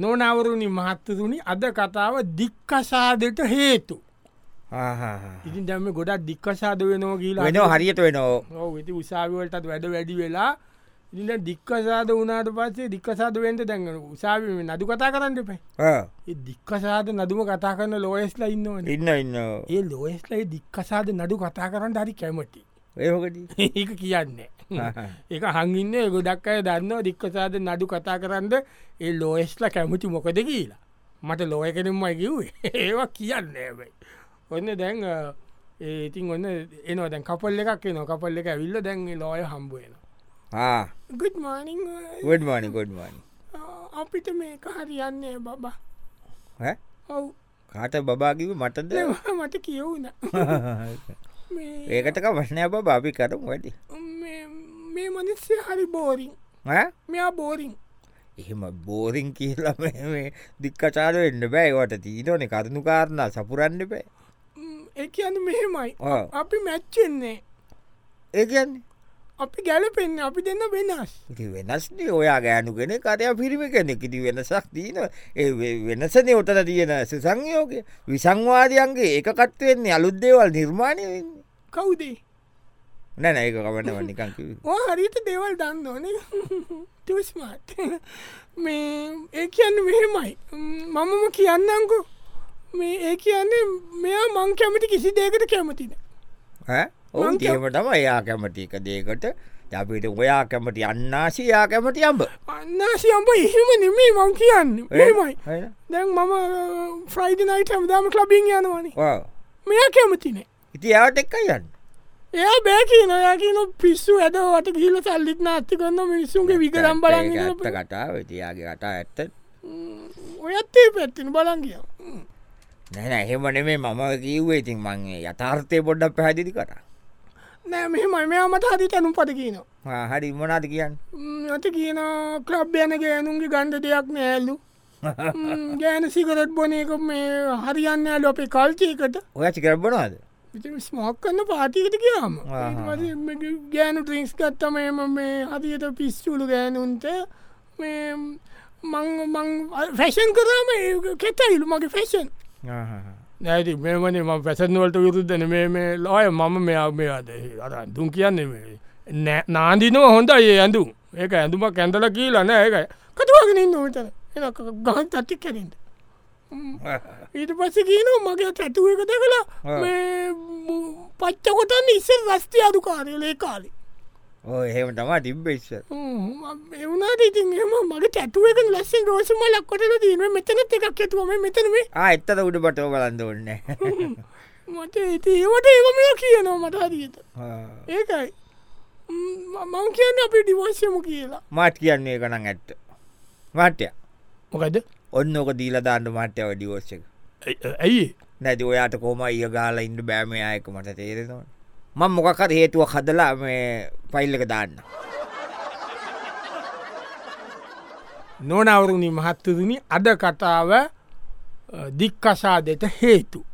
නොනවරුණි මහත්තතුනි අද කතාව දික්කසාදට හේතු. ඉතින් දැම ගොඩක් දික්කසාද වෙනෝ කියලා වෙනෝ හරියට වෙනෝ ඔව් ඉති උසාවිවලටත් වැඩ වැඩි වෙලා ඉ දික්කසාද වනාට පස්සේ දික්කසාද වෙන්ට දැන්ගෙන උසාාව නදු කතා කරන්න පයි ආ, ඒ දික්කසාද නදුම කතා කරන්න ලෝයස්ල ඉන්නවන ඉන්න ඉන්න ඒ ලෝයස්ලයි දික්කසාද නඩු කතා කරන්න හරි කැමටි ඒකට ඒ කියන්නේ ඒ හඟින්න ගොඩක් අය දන්න දික්කසාද නඩු කතා කරන්න ඒ ලෝයස්ල කැමති මොකද කියලා මට ලෝය කෙනෙම කිව්ේ ඒවා කියන්න ඇබයි ඔන්න දැන් අ, ඒ ඉතින් ඔන්න එනවා දැන් කපල් එකක් එනවා කපල් එක විල්ල දැන් ඒ ලෝය හම්බුවෙන ගුත්මානි ගොඩ්මානි ගොඩ්මානි අපිට මේක හරියන්නේ බබා ඔව් කාට බාකිව මටද දෙවා මට කියවුන මේ ඒකටක වශනය බ බාපි කරම් වැඩි මේ- මේ මනිස්සේ හරි බෝරිං මෙයා බෝරිං එහෙම බෝරිං කියලා මේ- මේ දික්කචාර වෙන්න බෑවට තීනෝන කරුණු කාරණා සපුරන්න බෑ ම්, ඒ කියන්න මෙහෙමයි ආ. අපි මැච්චෙන්නේ ඒකන්නේ අපි ගැලපෙන්න අපි දෙන්න වෙනස් ඉති වෙනස්නේ ඔයා ගෑනු කෙන කරය පිරිමි කෙනෙක් ඉති වෙනසක් තියන ඒ වෙ- වෙනසනේ ඔතන තියෙන සුසංයෝක විසංවාදයන්ගේ එකකත්වවෙන්නේ අලුද්දේවල් නිර්මාණය වෙන්නේ කවුදේ නැන ඒක කමන්න වනිකංකිව ඕ හරිත දේවල් දන්න ඕන ටස්මත් මේ ඒ කියන්න මෙහෙමයි ම්, මමම කියන්නංකු මේ ඒ කියන්නේ මෙයා මං කැමති කිසි දේකට කැමතින ඔවුන් මං කැම- කියම තම එයා කැමටි එක දේකට අපිට ඔයා කැමටි අන්නාසියා කැමටි අම්බ අන්නාසියම්ප එහෙම නෙමේ මං කියන්න මෙමයි හරි. දැන් මම uh, ෆ්‍රයිඩ නයිට හමදාම ලබින් යනවනේ ඔව්. මෙයා කැමතිනේ ඉති එයාට එක්ක යන්න එයා බෑකී නොයාකින පිස්සු ඇදවට ගීල සල්ලිත් නාත්ති කන්න මිනිස්සුන්ගේ විකරම් බලන්න ඒක ඉඳලා ඇත්ත කටා වෙතියාගේ කටා ඇත්ත ඔයත්තේ පැත්තින බලන්ගිය නැන එහෙමන මේ මම කිව්වේ ඉතින් මංගේ යථාර්ථය පොඩ්ඩක් පැහැදිලි කට නෑ මෙහෙමයි මෙයා මට හරි තැනුම් පට කියන හරි මොනාද කියන්න ඇත කියන ක්‍රබ් යන ගෑනුන්ගේ ගණ්ඩ දෙයක් නෑල්ලු ගෑන සිකරත් බොනයක මේ හරියන්න ඇල අපේ කල්චයකට ඔය චිකරබනවාද ස්මෝක් කන්න පාතිකට කියාම ආහා. ගෑනු ට්‍රින්ස් කත්තම එම මේ හරියට පිස්සුලු ගෑනුන්ට මේ මං මං ෆැෂන් කරම කෙතයිලු මගේ ෆැෂන් නැති මෙමනේ ම පැසන්වලට විරුද්ධන මේ මේ ලොය මම මෙයා මෙයාද අර ඇඳුම් කියන්නේ මේ නෑ- නාන්දිනව හොඳ ඒ ඇඳුම් ඒක ඇඳුම කැඳල කියීලන ඒක කතුවගෙනින් නොවිතර එ ගහන් තත්ති කැරින්ට ඊට පස්ස කියනෝ මගේ තැතුව එක දෙකලා ආ. මේ පච්චකොතන්න ඉස්සර රස්ති අරු කාරයලේ කාලේ ඕ එහෙම තමා තිබ්බේශ්ව එවුණට ඉතින් එම මගේ තැතුවක ලස්සෙන් රෝසම ලක්කොට දීම මෙතන එකක් ඇතුවම මෙතන මේ ආ එත්තද උඩ පටෝ බලන්න ඔන්න මට ඉති ඒවට ඒවමය කියනවා මට හරියට ඒකයි ම්ම්, ම- මං කියන්න අපි ඩිවර්ශයම කියලා මාට් කියන්නේ කනම් ඇත්ත මාට්‍ය මොකද ඔන්න ඕක දීලදාන්න මාට්‍යාව ඩිවෝස්සක ඇයි නැති ඔයාට කෝම ඒ ගාලා ඉන්න බෑමයක මට තේරෙනවා මං මොකක්කර හේතුව කදලා මේ පයිල්ලක දාන්න නොනවරුණි මහත්තතුනි අද කතාව දික්කසා දෙට හේතු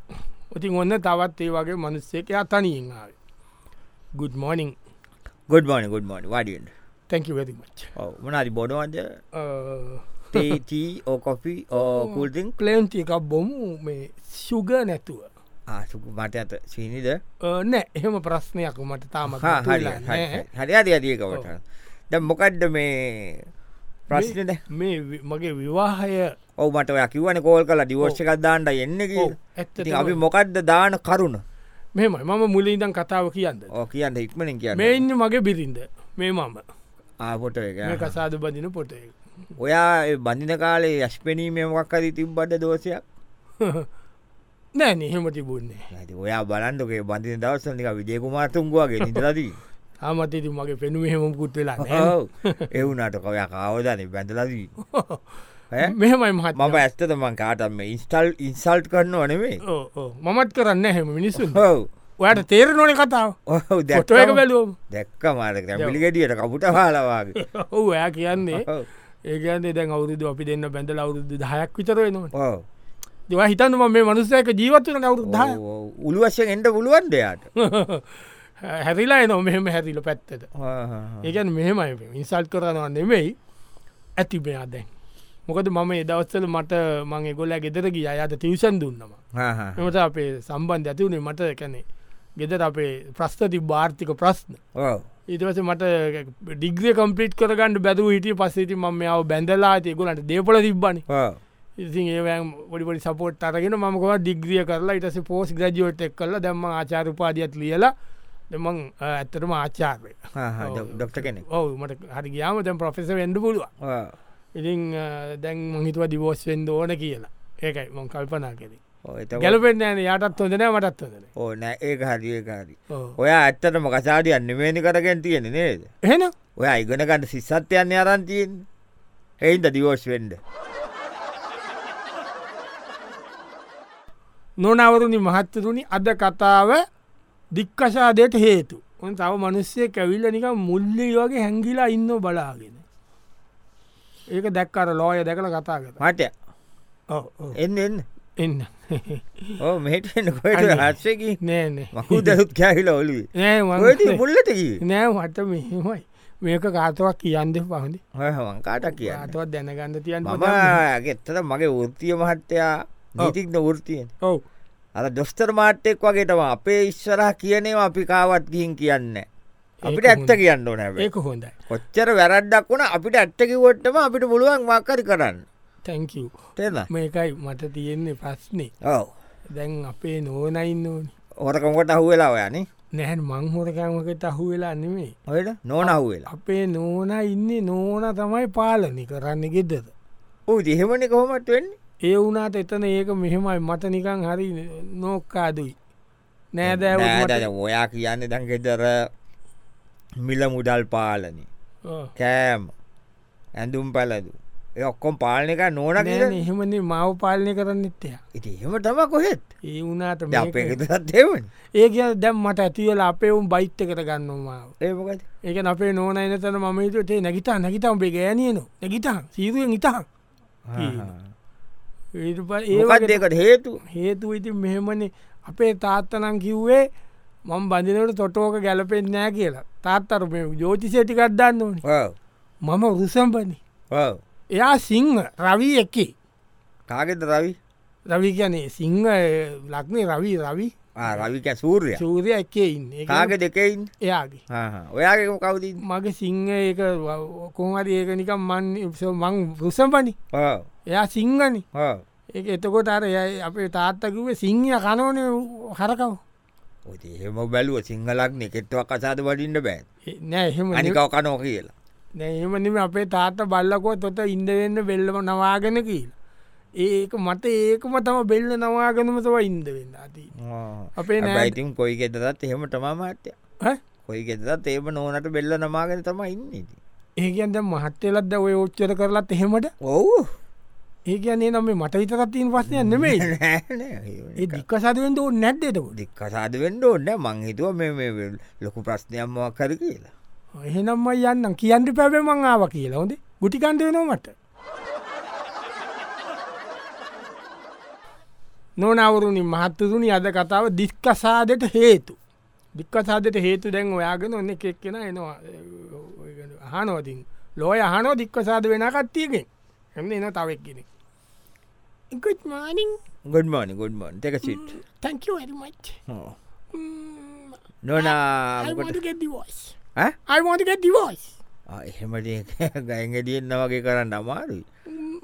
ඉතින් ඔන්න තවත් ඒ වගේ මනුස්සේක අතනීාව good morning ගොඩ්මන ගොඩ්මන වඩියෙන් thank you very much මනාරි බොඩවන්ද ඕකොෆි ඕකල්ටං ප්ලේන්ති එකක් බොමු මේ සුග නැතුව ආසුකු මට ඇත සීනිද අ, නෑ එහෙම ප්‍රශ්නයක් මට තාමත් හරි නැතුවලා නෑ. හරි අද අදකවට ද මොකක්ද මේ ප්‍රශ්නද මේ වි- මගේ විවාහය ඔව මට ඔය කිවන කෝල් කලා ඩිවෝර්ෂකක් දාන්නට එන්න ඔව්, ඇත්තටම. ඉතින් අපි මොකක්ද දාන කරුණ මෙමයි මම මුලින්දන් කතාව කියන්න ඕ කියන්න ඉක්මනින් මේ කියන්න ඉන්න මගේ බිරිඳ මේ මම ආපොට මේ එක කසාද බඳින පොට ඔයා ඒ බඳින කාලේ යස්පනීමේ මොක්කද තිබ්බට දෝෂයක් නෑ නහෙම තිබුන්නේ ඇති ඔයා බලන්ඩකේ බඳින දවස්සනික විජයකුමාර්තුන්ගවාගේ නිතරදී ආමතති මගේ පෙනු මෙහෙමකුත් වෙලා නෑ. ඔව්. ඒ වුණට කවයා කවදානේ බැඳලදී ඈ? මෙහෙමයි මහත් මම ඇත්තත මං කාටම ඉස්ටල් ඉන්සල්ට් කරන්න ඕනෙවේ ඕ, ඕ. මමත් කරන්න හෙම මිනිස්සුන් හව ඔයට තේර නොන කතාව ඔහු ොටෝ එක බැලුවම් දැක්ක මාරක පිළිගෙඩියට කපුට හලවාගේ ඔහු ඔයා කියන්නේ ඒකන්ේ දැන් අවුරුදු අපි දෙන්න බැඳල අවුරුදු දහයක් විතර වෙනවා දවා හිතන්නම මේ මනුස්සයක ජීවත්වන අවුරුද්ධ උළුවශයෙන් එන්ට පුළුවන් දෙයාට හැරිලා එනො මෙහෙම හැරිල පැත්තට ඒකන් මෙහෙමයි ඉන්සල්් කරනවා නෙමෙයි ඇති මෙයා දැන් මොකද මම එදවස්සල මට මං ගොල්ල ගෙදර ගිය අයට තිවසන් දුන්නම එමට අපේ සම්බන්ධ ඇති වුණේ මට කැනෙ ගෙදර අපේ ප්‍රස්ථති භාර්ථික ප්‍රශ්න ඕ ඉටවස මට ඩිග්‍රිය කම්පිට් කරගන්නඩ බැතු හිටිය පස්සේති ම මෙයාව බැඳලා තියකුලට දේපල තිබ්බන ඕ ඉතින් ඒ පොඩිපොඩි සපෝට් අරගෙන මකොව ඩිග්‍රිය කරලා ඉටස පෝස් ග්‍රජෝට් එක් කරලා දැම ආචාරපාදියත් ලියලා දෙමං ඇත්තරම ආචාර්ය ඩොක්ට කෙනෙක් ඔව මට හරි ගයාම දැන් ප්‍රොෆෙස වෙන්ඩ පුළුව ඕ. ඉතින් අ, දැන් මහිතුව දිවෝස් වෙන්ඩ ඕන කියලා ඒකයි මොං කල්පනා කෙරේ ඕ, එතකොට- ගැලපෙන් ෑන යටත් හොදන මටත් හොදන ඕ නෑ ඒක හරිකාරි ඕ. ඔයා ඇත්තටම කසාඩියන් නිමේනි කරගෙන් තියෙන නේද එහෙන ඔය ඉගෙනකට සිස්සත්යන්න අරන්තියෙන් එයින්ට දිවෝස් වෙන්ඩ නොනවරුණි මහත්තරුණි අද කතාව දික්කශාදයට හේතු ඔන් තව මනුස්සේ කැවිල්ල නික මුල්ලි වගේ හැංගිලා ඉන්න බලාගෙන ඒක දැක්කර ලෝය දැකළ කතා කර මට එන්න එන්න එන්න ඕ මෙටන්න කොට අනේ. හත්සකි නෑනේ මකු දරුත් කෑහිල ඔලුව නෑ ඔට මං- පුල්ලටකි නෑ මට මෙහෙමයි මේක කාතවක් කියන්ද පහඳි හවංකාට කියන්න කාතවත් දැනගන්න තියන් මම ගෙත්තට මගේ වෘතිය මහත්තයා නීතික්න වෘතියෙන් ඔව් අර දොස්තර මාට්‍යෙක් වගේටම අපේ ඉස්සරහ කියනවා අපි කාවත් ගිහින් කියන්න අපිට ඇත්ත කියන්න නැ ඒක හොඳයි කොච්චර වැරද්දක් වුණ අපිට ඇත්තකිවොට්ටම අපිට පුළුවන් මක්කරි කරන්න තැංකූ තෙන මේකයි මට තියෙන්නේ ප්‍රශ්නේ ඔව දැන් අපේ නෝනයින්න ඕනි ඕරකමකට අහුවෙලා ඔයනේ නැහැන් මංහොරකෑමකට අහු වෙලා නෙමේ ඔයට නෝන අහුවෙලා අපේ නෝන ඉන්නේ නෝන තමයි පාලනි කරන්න ගෙදද ඌ දිහෙමනි කොහොමට වෙන්නේ ඒ වුනාට එතන ඒක මෙහෙමයි මට නිකං හරි නෝක්කාදුයි නෑ, නෑදෑ දැන් ඔයා කියන්න දැන් ගෙදර මිල මුදල් පාලනි කෑම් ඇඳුම් පැලදු ඒ ඔක්කොම් පාලනක නෝන කියන එහෙමන මව පාලනය කරන්න එත්තය ඉති එහෙම තම කොහෙත් ඒ වුනාට දැන් අපේ ගෙදරත් එෙවන ඒ කිය දැම් මට ඇතිවල අපේ උම් බයිට්ට කර ගන්නමාව ඒමකත් ඒක අපේ නෝන එනතන මමතුටේ නැගිතා නැගිතම් බේ ගෑනියන නැගිතා සීරුවෙන් ඉතා ඒ ඒකත් ඒකට හේතු හේතු ඉති මෙහෙමන අපේ තාත්තනම් කිව්වේ මං බඳනට තොටෝක ගැලපෙන් නෑ කියලා තාත්තර ජෝතිසයටිකක්දන්න ඕන ඔව්, මම රුසම්පනි ඔව්. එයා සිංහ රවී එකේ කාගෙද රවි රවි කියනේ සිංහ ලක්නේ රවී රවි ආ, රවි කෑ සූර්ය චූරය එකේ ඉන්න ඒ කියන්නේ කාගෙ දෙකයින් එයාගේ ඔයාගේම කවතින් මගේ සිංහ ඒක කොහරි ඒක නිකම් මන් මං රුසම්පනි එයා සිංහනි ඒ එතකොට අර එයා- අපේ තාත්තකිවේ සිංහ කනෝනය හරකව එහෙම බැලුව සිංහලක්න කෙට්ටවක් අසාද වඩින්න බෑ ඒ- නෑ එහෙම නෙවෙයි. අනිකව කනෝ කියලා නැහමනිම අපේ තාත්ත බල්ලකෝ තොට ඉන්දවෙන්න බෙල්ලම නවාගෙන කියල ඒක මට ඒකම තම බෙල්ල නවාගෙනම තව ඉන්දවෙන්න අති අපේ නෑ- නයිතින් කොයි ගෙදරත් එහෙම තමාමාත්‍ය කොයි ගෙදරත් ඒම නෝනට බෙල්ල නමාගෙන තම ඉන්න ඒකන්ද මහත්තලද ඔය ඔච්චර කරලත් එහෙමට ඔව් ඒකන්නේ නම් මේ මට විතරත්තිීන් පස්සය නෙමේ ඒ දික්ක සතුවෙන්ට ඕ නැද්දෙතකොට දික්කසාද වෙන්ඩ ඕන්න මංහිතුව මේ ලොකු ප්‍රශ්නයම්මක් කර කියලා එහෙනම් යන්න කියන්ට පැබේ මං ආව කියලා හොදේ ගුටිකන්ඩයනොමට නොනවරුණි මහත්තතුනි අද කතාව දික්කසාදට හේතු දික්කසාදට හේතු දැන් ඔයාගෙන ඔන්න එකෙක් කෙන එනවා හනෝතින් ලෝය හනෝ දික්කසාද වෙන කත්තියකෙන් එන්න එන තවක් කෙනෙ ඉකුත් මානිින් ගොඩ්මනි ගොඩ්මන් එක සිට් තැංකවරිමච් Oh. Ah, නොනාමකට දිවෝස් අයිමෝතික දිවෝස් Ah, එහෙමට ගයිගදියෙන්න්න වගේ කරන්න අමාරුයි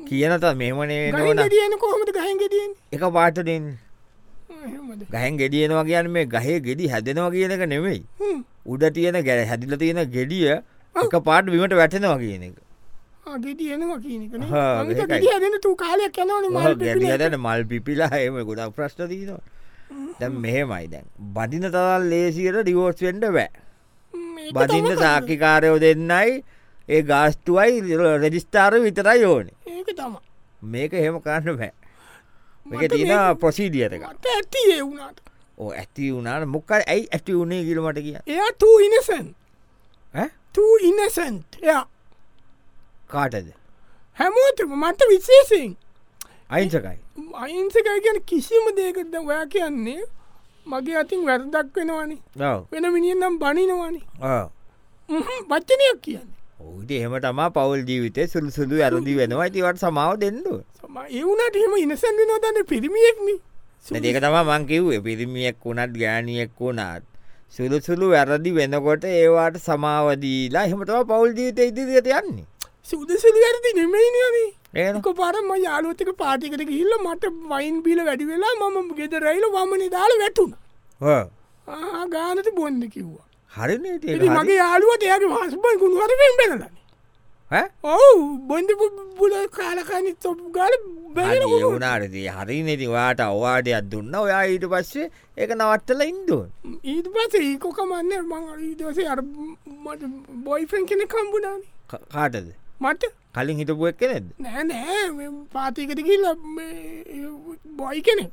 කියනත මෙමනේ නෝන ගියන කොහොමට ගහන් ගෙටියෙන් එක පාටටෙන් එහෙමද ගහෙන් ගෙඩියනවා කියන්න මේ ගහේ ගෙඩි හැදෙනවා කියන එක නෙවෙයි හ්ම්. උඩ තියෙන ගැ හැදිල තියෙන ගෙඩිය එක පාට බිමට වැටෙනවා කියන එක ආ, ගෙඩි එනවා කියනකන හා, ඒකයි. ගෙඩිය දෙන තු කාලයක් යනවන ගැඩියදන මල් පිපිලා එම ගොඩක් ප්‍රශ්ට තියනවා දැම් මෙහෙමයි දැන් බඩින තවල් ලේසියට ඩිවෝස් වෙන්ඩ බෑ බදින්න සාකිකාරයෝ දෙන්නයි ඒ ගාස්ටුවයි රෙජිස්ථාර විතරයි ඕනේ ඒක තම මේක හෙම කරන්න බෑ මේක මට තියෙන මේක- ප්‍රසීඩියට එක මට ඇති ඒ වුණට ඕ ඇති වුණට මොක්ක ඇයි ඇටි වුණේ කිලමට කිය එයා තූ ඉනසන් තූ ඉනසන්ට් එය කාටද හැමෝතම මට විශේසිෙන් අයින්සකයි අයින්සකය කියන කිසිම දේකටද ඔයා කියන්නේ මගේ අතින් වැරදක් වෙනවානි ඔව වෙන මිනිියෙන් නම් බනිනවානි ඕ වචනයක් කියන්නේ ඔහුට එහෙම තමා පවල් ජීවිතය සුල්සුදු ඇරදි වෙනවා ඇතිවට සමාව දෙන්නු සම ඒවුණට එහෙම ඉනසන්ද නොදන්න පිරිමියෙක්ම දෙක තම මංකිව්ේ පිරිමියෙක් වුණත් ගෑනියෙක් වුණාත් සුළු සුළු වැරදි වෙනකොට ඒවාට සමාවදීලා එහෙමටම පවල් ජීවිතය ඉදිරියට යන්නේ සුදසුදු ඇරදි නෙමයිනනේ ඒන එක පාරම යාලෝතික පාටිකට ගිල්ල මට වයින් බිල වැඩි වෙලා මම ගෙද රයිල වමනි දාල වැටුණ ගානට බොන්ද කිව්වා ඉතින් හරිනට මගේ යාලුවට එයාගේ හස්බන් ගුණුවට පෙන් පෙනලන හ? ඔවු බොන්ද පුල කාලකනි තොප් ගල බැල ඒවුනාරදී හරි නෙති වාට අවාඩයක් දුන්න ඔයා ඊට පස්සේ ඒක නවත්තල ඉන්දුවන් ඊට පස ඒකොකමන්න මං ඊදස අර මට බොයිෆන් කෙන කම්බුණන කාටද මට කලින් හිටපුුවක් කෙනෙද නෑ නෑ පාතිකට කියල බොයි කෙනෙ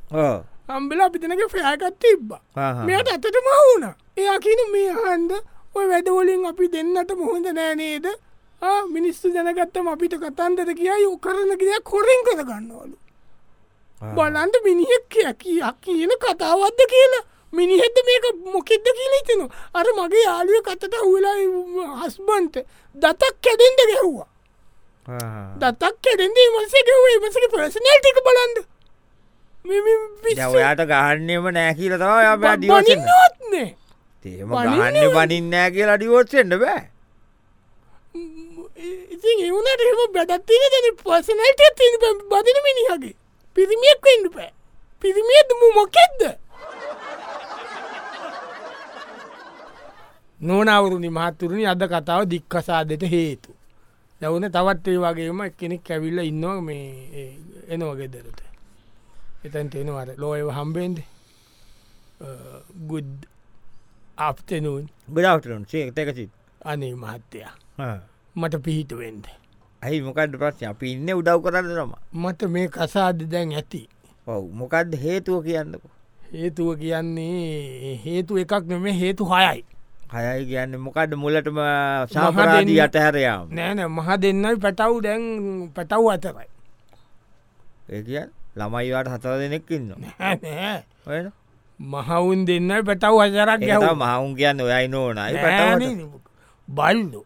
අම්බෙල අපිතනක ෆෑකත් තිබ්බා මෙයට ඇතට මවුණ එයකින මේ හන්ද ඔය වැඩවලින් අපි දෙන්නට මුහොඳ නෑනේද ආ, මිනිස්සු දැනගත්තම අපිට කතන්දර කියයි උකරන කිය කොරින් කරගන්නවලු බලන්ට මිනිහෙක් කියකි කියන කතාවත්ද කියලා මිනිහෙද මේක මොකෙද්ද කියලා ඉතනු අර මගේ යාලුව කතට හුලා හස්බන්ට දතක් කැඩෙන්ට ගැහ්වා දතක් කැඩෙන්දේ මසේ ගැවේ මසක පර්සනල් ටික බලන්ද ඔයාට ගහන්නෙම නෑකීල තම යා ඩිවසෙන් ිනත්නේ තේම බනින්නේ ගහන්න පනින්නෑ කියලා ඩිවෝත්සෙන්ට බෑ ඉතින් එවුණට එම බැදත්තින දැන පසනට තින බදින මිනිහගේ පිරිමියක් වෙන්ඩු පෑ පිරිමියද මු මොකෙක්ද නොනවුරුණි මහත්තුරුණි අද කතාව දික්කසාදට හේතු දැවන තවත් ඒ වගේම කෙනෙක් කැවිල්ල ඉන්නවා මේ ඒ එනවගෙදරට එතැන් එෙනවට ලෝයව හම්බෙන්ද ගුඩ් අප්තනුන් බඩාටලන් සේතකසිත් අනේ මහත්තයා මට පිහිටුවෙන්ද. ඇයි මොකක්ද ප්‍රශ්න අපි ඉන්න උදව් කරන්න නම මට මේ කසාද දැන් ඇති ඔව් මොකක්ද හේතුව කියන්නක හේතුව කියන්නේ හේතු එකක් නෙම හේතු හයයි හයයි කියන්න මොකක්ද මුලටම සාපරාදී අතහැරයාම නෑන මහ දෙන්නයි පැටව් දැන් පැටව් අතරයි ඒ කිය ළමයිවාට හතර දෙනෙක් ඉන්න නෑ, නෑ. ඔය මහවුන් දෙන්නයි පැටව් අතරක් ගැහුවා. මහවුන් කියන්න ඔයයි නෝනයි පැට නෑනේ. බල්ලෝ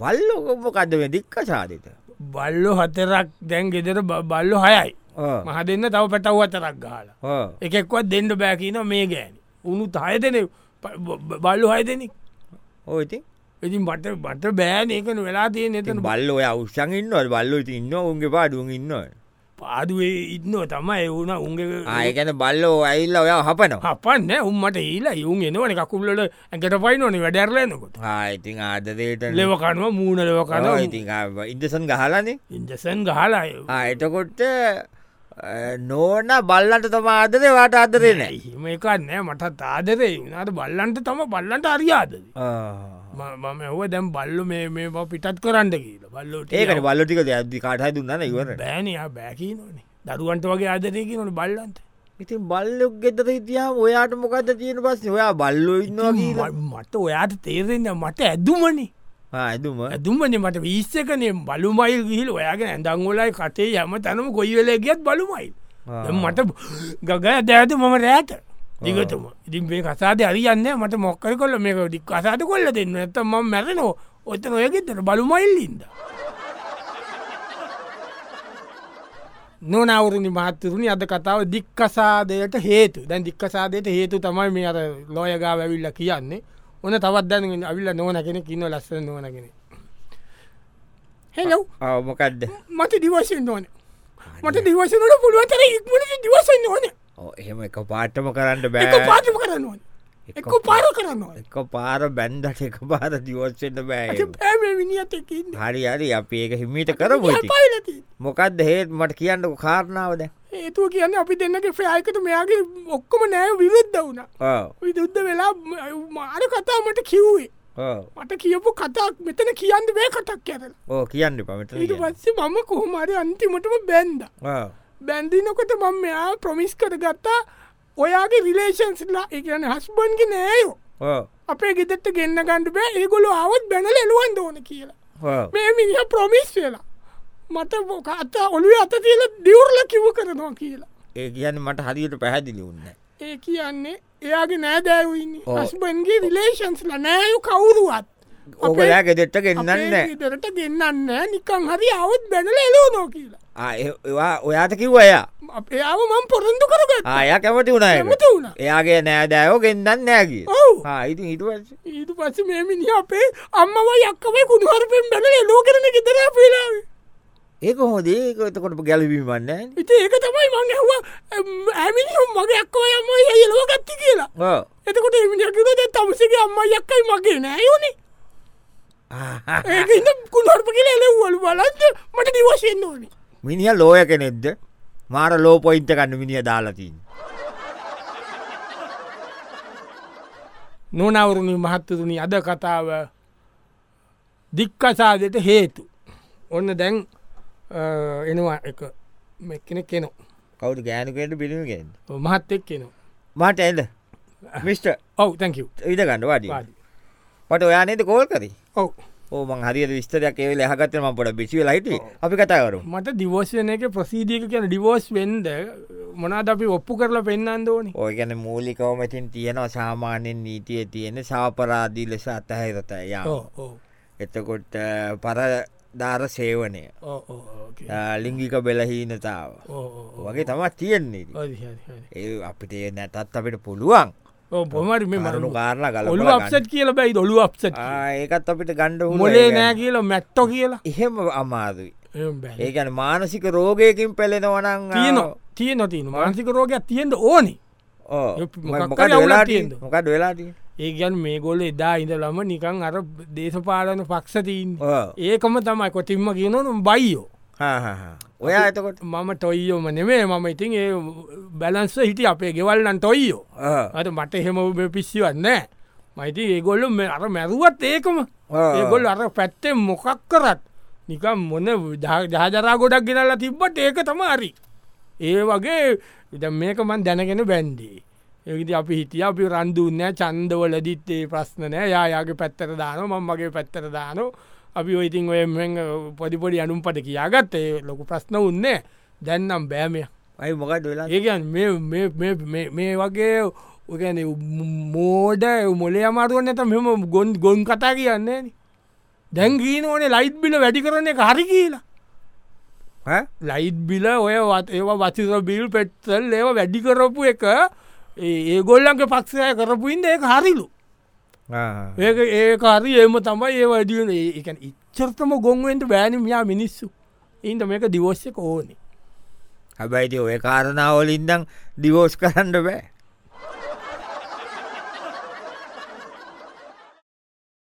බල්ලොකොමොකද වෙදික්ක සාධිත බල්ලෝ හතරක් දැන් ගෙදර බ- බල්ලෝ හයයි මහ දෙන්න තව පැටව් අතරක් ගාල එකෙක්වත් දෙන්න බෑකින මේ ගෑන උනු තයදන බල්ලු හය දෙනෙක් ඕයිති ඉතින් බට බට බෑන එකන වෙලා තිය නතන බල්ල ඔය අවෂන් ඉන්නවට බල්ලෝ ඉති ඉන්න උන්ගේ පාඩුවන් ඉන්නව පාදුවේ ඉන්න තමයි එවුණ උන්ගේ ආයකැන බල්ලෝ ඇල්ල ඔයා හපනවා හපන්න උම්මට ඒලා යුන් එනවන කකුල්ලට ඇකට පයි නොන වැඩැරලයනකොට ආයිතින් ආදදේට ලෙවකනුව මූුණලවකන ඉති ඉන්දසන් ගහලනේ ඉන්දසන් ගහලාය එතකොට නෝන බල්ලට තම ආදරය වාට ආදරේ නෑ එහෙම එකන්නෑ මට තාදරේ වුණට බල්ලන්ට තම බල්ලන්ට අරියාද ආ. මම ඔව දැම් බල්ලු මේ මේ බව පිටත් කරන්න කියල බල්ලෝට ඒකට බල්ලොටික ඇදදි කාටහ දුන්නන ඉවරට බෑනයා බැකී නොනේ දරුවන්ට වගේ ආදරයකි නොට බල්ලන්ට ඉතින් බල්ලොක් ගෙතර ඉතියා ඔයාට මොකක්ද තියෙන පස්ස ඔයා බල්ලෝ ඉන්නවා කියලා ම- මට ඔයාට තේරෙන්න මට ඇදුමනේ ආ, ඇදුම ඇදුම්මනේ මට විස්සකනේ බලුමයිල් ගිහිල් ඔයාගෙන ඇඳංගොලයි කටේ යම තනම කොයි වෙලා ගියත් බලුමයිල් ආ. දැන් මට ගගය දෑත මම රෑත දිගතම ඉතින් මේ කසාද අරියන්න මට මොක්කර කොල්ල මේක ඩික් අසාද කොල්ල දෙන්න ඇත ම මැරෙනෝ ඔත්තන ඔයගෙතර බලුමයිල්ලින්ද නොනවරුණි මහත්තරුණි අද කතාව දික්කසාදයට හේතු දැන් දික්කසාදයට හේතු තමයි මේ අර ලෝයගා ඇවිල්ල කියන්නේ ඕන තවත් දැන අවිල්ල නොන කෙන කින්න ලස්ස නොන කෙන හෙලව් අවමොකක්ද මට දිවශෙන් ඕන මට දිවශනට පුළුවතර ඉක්මට දිවසෙන් ඕන එහෙම එක පාටම කරන්න එක බෑ පාටම කරන්න ඕන එක එක පාර කරන්න ඕන එක පාර බැන්ඩට එක පාර දිවස්සෙන්ට බෑ පෑම විනිියත් එකන්න හරි හරි අපි ඒක හිමිට කරමු ඉතින්. පාලති මොකක්ද හේත් මට කියන්නක කාරණාවද ඒතුව කියන්න අපි දෙන්නගේ ෆෑයකට මෙයාගේ ඔක්කොම නෑ විරුද්ධ වුණ ඕ විදුද්ධ වෙලා ම- මාර කතා මට කිව්වේ ඕ මට කියපු කතාක් මෙතන කියන්න බෑ කටක් ඇරලා ඕ කියන්න පමට ඊට පස්සේ මම කොහොමරි අන්තිමටම බැන්ද බැන්දිනකොට මම මෙයා ප්‍රමිස් කර ගත්තා ඔයාගේ රිලේෂන්ස්ලා එකන හස්බන්ග නෑයෝ අපේ ගෙතට ගෙන්න්න ගණඩ බෑ ඒගොලු අවත් බැනල එලුවන් දෝන කියලා මේ මිනිහ ප්‍රමිස් වෙලා මට බොක අත ඔලු අත තියල දියවරල කිව් කරනවා කියලා ඒ කියන්න මට හරියට පැහැදිලි උන්න ඒ කියන්නේ එයාගේ නෑදෑවන්න ඔව්. හස්බන්ගේ රිලේෂන්ස්ල නෑයු කවුරුවත් ඕකයා ගෙදෙට්ට ගෙන්න්නන්න දරට ගෙන්න්න නිකං හරි අවත් බැනල එලෝනෝ කියලා ඒවා ඔයාට කිව් ඔයා අපේ ආව මං පොරොන්දු කරග ආය කැමති වුණයි ඇමත වුණ එයාගේ නෑදෑයෝ ගෙන්න්න නෑගේ ඔව් ඉති හිටුව ඊට පස්ස මේමිනි අපේ අම්මව යක්කවේ කුණුහරපෙන් බැනල එලෝ කරන ගෙදර පේලාව ඒක හොදේ එතකොට ගැලවීම වන්න ඉති ඒක තමයි මං ඇහවා ඇමිනිුම් මගේ යක්කව අම්ම එලෝගත්ති කියලා එතකොට එමිනිකිවද තමසගේ අම්ම යක්කයි මගේ නෑයෝනේ ඒකන්න කුණහරප කියල එලව්වලු බලන්ද මට නිවශයෙන් ඕනේ මිනිහ ලෝය කෙනෙක්ද මාර ලෝපොයින්ට කන්න මිනිිය දාලතින් නොනවරුණි මහත්තතුනි අද කතාව දික්කසාදට හේතු ඔන්න දැන් අ, එනවා එක මෙක්කෙන කෙනෝ කවුට ගෑනකට පිළිමගෙන් මහත් එක් කෙනවා මට ඇද මිට ඔව් තැකව ඉට ගන්න වඩි පට ඔයානෙද කෝල් කරි ඔව් ඕමන් හරි විස්තරයක් ඒව ලහගත්තම පොට බිසිව ලයිට අපි කතාකරු මට දිවෝෂණ එක ප්‍රසීදියක කියන ඩිවෝස් වෙන්ද මොනාද අපි ඔප්පු කරලා පෙන්න්න ඕනි ඕය ගැන මූලිකවමතින් තියෙනවා සාමාන්‍යෙන් නීතිය තියෙන සාපරාදී ලෙස අතහැරත යා ඕ ඕ එතකොට අ, පරදාර සේවනය ඕ ඕ ඕකේ. අ, ලිංගික බෙලහීනතාව ඕ ඕ වගේ තමත් තියෙන්නේ ඉතින්. ඕ හරි, හරි, හරි. ඒ අපිට ඒ නැතත් අපිට පුළුවන් ඔව්, බොහොමරි මේ මරුණු මරණු කාරණ ගල ඔලු අප්සට් කියල බැයි ඔලු අප්සට ඒකත් අපිට ගණ්ඩ මොලේ නෑ කියලා මැට්ටෝ කියලා එහෙම අමාදුයි එහෙම බෑ. ඒකන මානසික රෝගයකින් පෙලෙනවනං තියෙනවා තියෙන තියෙන මාන්සික රෝගයක් තියෙන්ට ඕනි මොකක් හරි මොකක් අවුලක් වෙලා තියෙන්ද? මොකක්ද වෙලාට ඒගැන් මේ ගොල්ල එදා ඉඳලම නිකං අර දේශපාලන පක්ෂතින් ඒකම තමයි කොටින්ම කියනනු බයිෝ ඔයා එතකොට මම ටොයියෝම නෙමේ මම ඉතින් ඒ බැලන්ස හිටි අපේ ගෙවල්ලන් ටොයියෝ ආ. අට මට එහෙම පිස්සිවන්නෑ මයිති ඒගොල්ලු මේ අර මැරුවත් ඒකම ආ. ඒගොල් අර පැත්තෙන් මොකක් කරත් නිකම් මොන ජාජරා ගොඩක් ගෙනල්ලා තිබ්බට ඒක තම හරි ඒ වගේ ඉ මේක මන් දැනගෙන බැන්්ඩේ ඒවිදි අපි හිටිය අපි රන්දුන්නෑ චන්දවලදිත් ඒ ප්‍රශ්නනෑ යායාගේ පැත්තර දාන මංමගේ පැත්තර දානෝ අපි ඔයිතින් ඔය මෙන් පොඩිපොඩි අනුම් පට කියාගත් ඒ ලොකු ප්‍රශ්න උන්නේ දැන්නම් බෑමය අයි මොකක්ද වෙලා ඒකන් මේ වගේ ඔගැන මෝඩ මොලේ අමාරුවන්න ඇත මෙම ගොන් ගොන් කතා කියන්නේ නේ. දැන් ගීන ඕනේ ලයිට් බිල වැඩි කරන එක හරි කියලා ඈ? ලයිට් බිල ඔය වත් ඒ වචිර බිල් පෙට්සල් ඒව වැඩි කරපු එක ඒ- ඒගොල්ලන්ගේ පක්ෂය කරපුයින්ද ඒ හරිලු ආ. ඒක ඒක හරි ඒම තමයි ඒ වැඩියන එක ඉච්චර්තම ගොන්ුවෙන්ට බෑනම් යා මිනිස්සු ඉන්ට මේක දිවෝශ්‍යක ඕනේ හැබැයිති ඔය කාරණාවලින්දං දිවෝස් කරන්න බෑ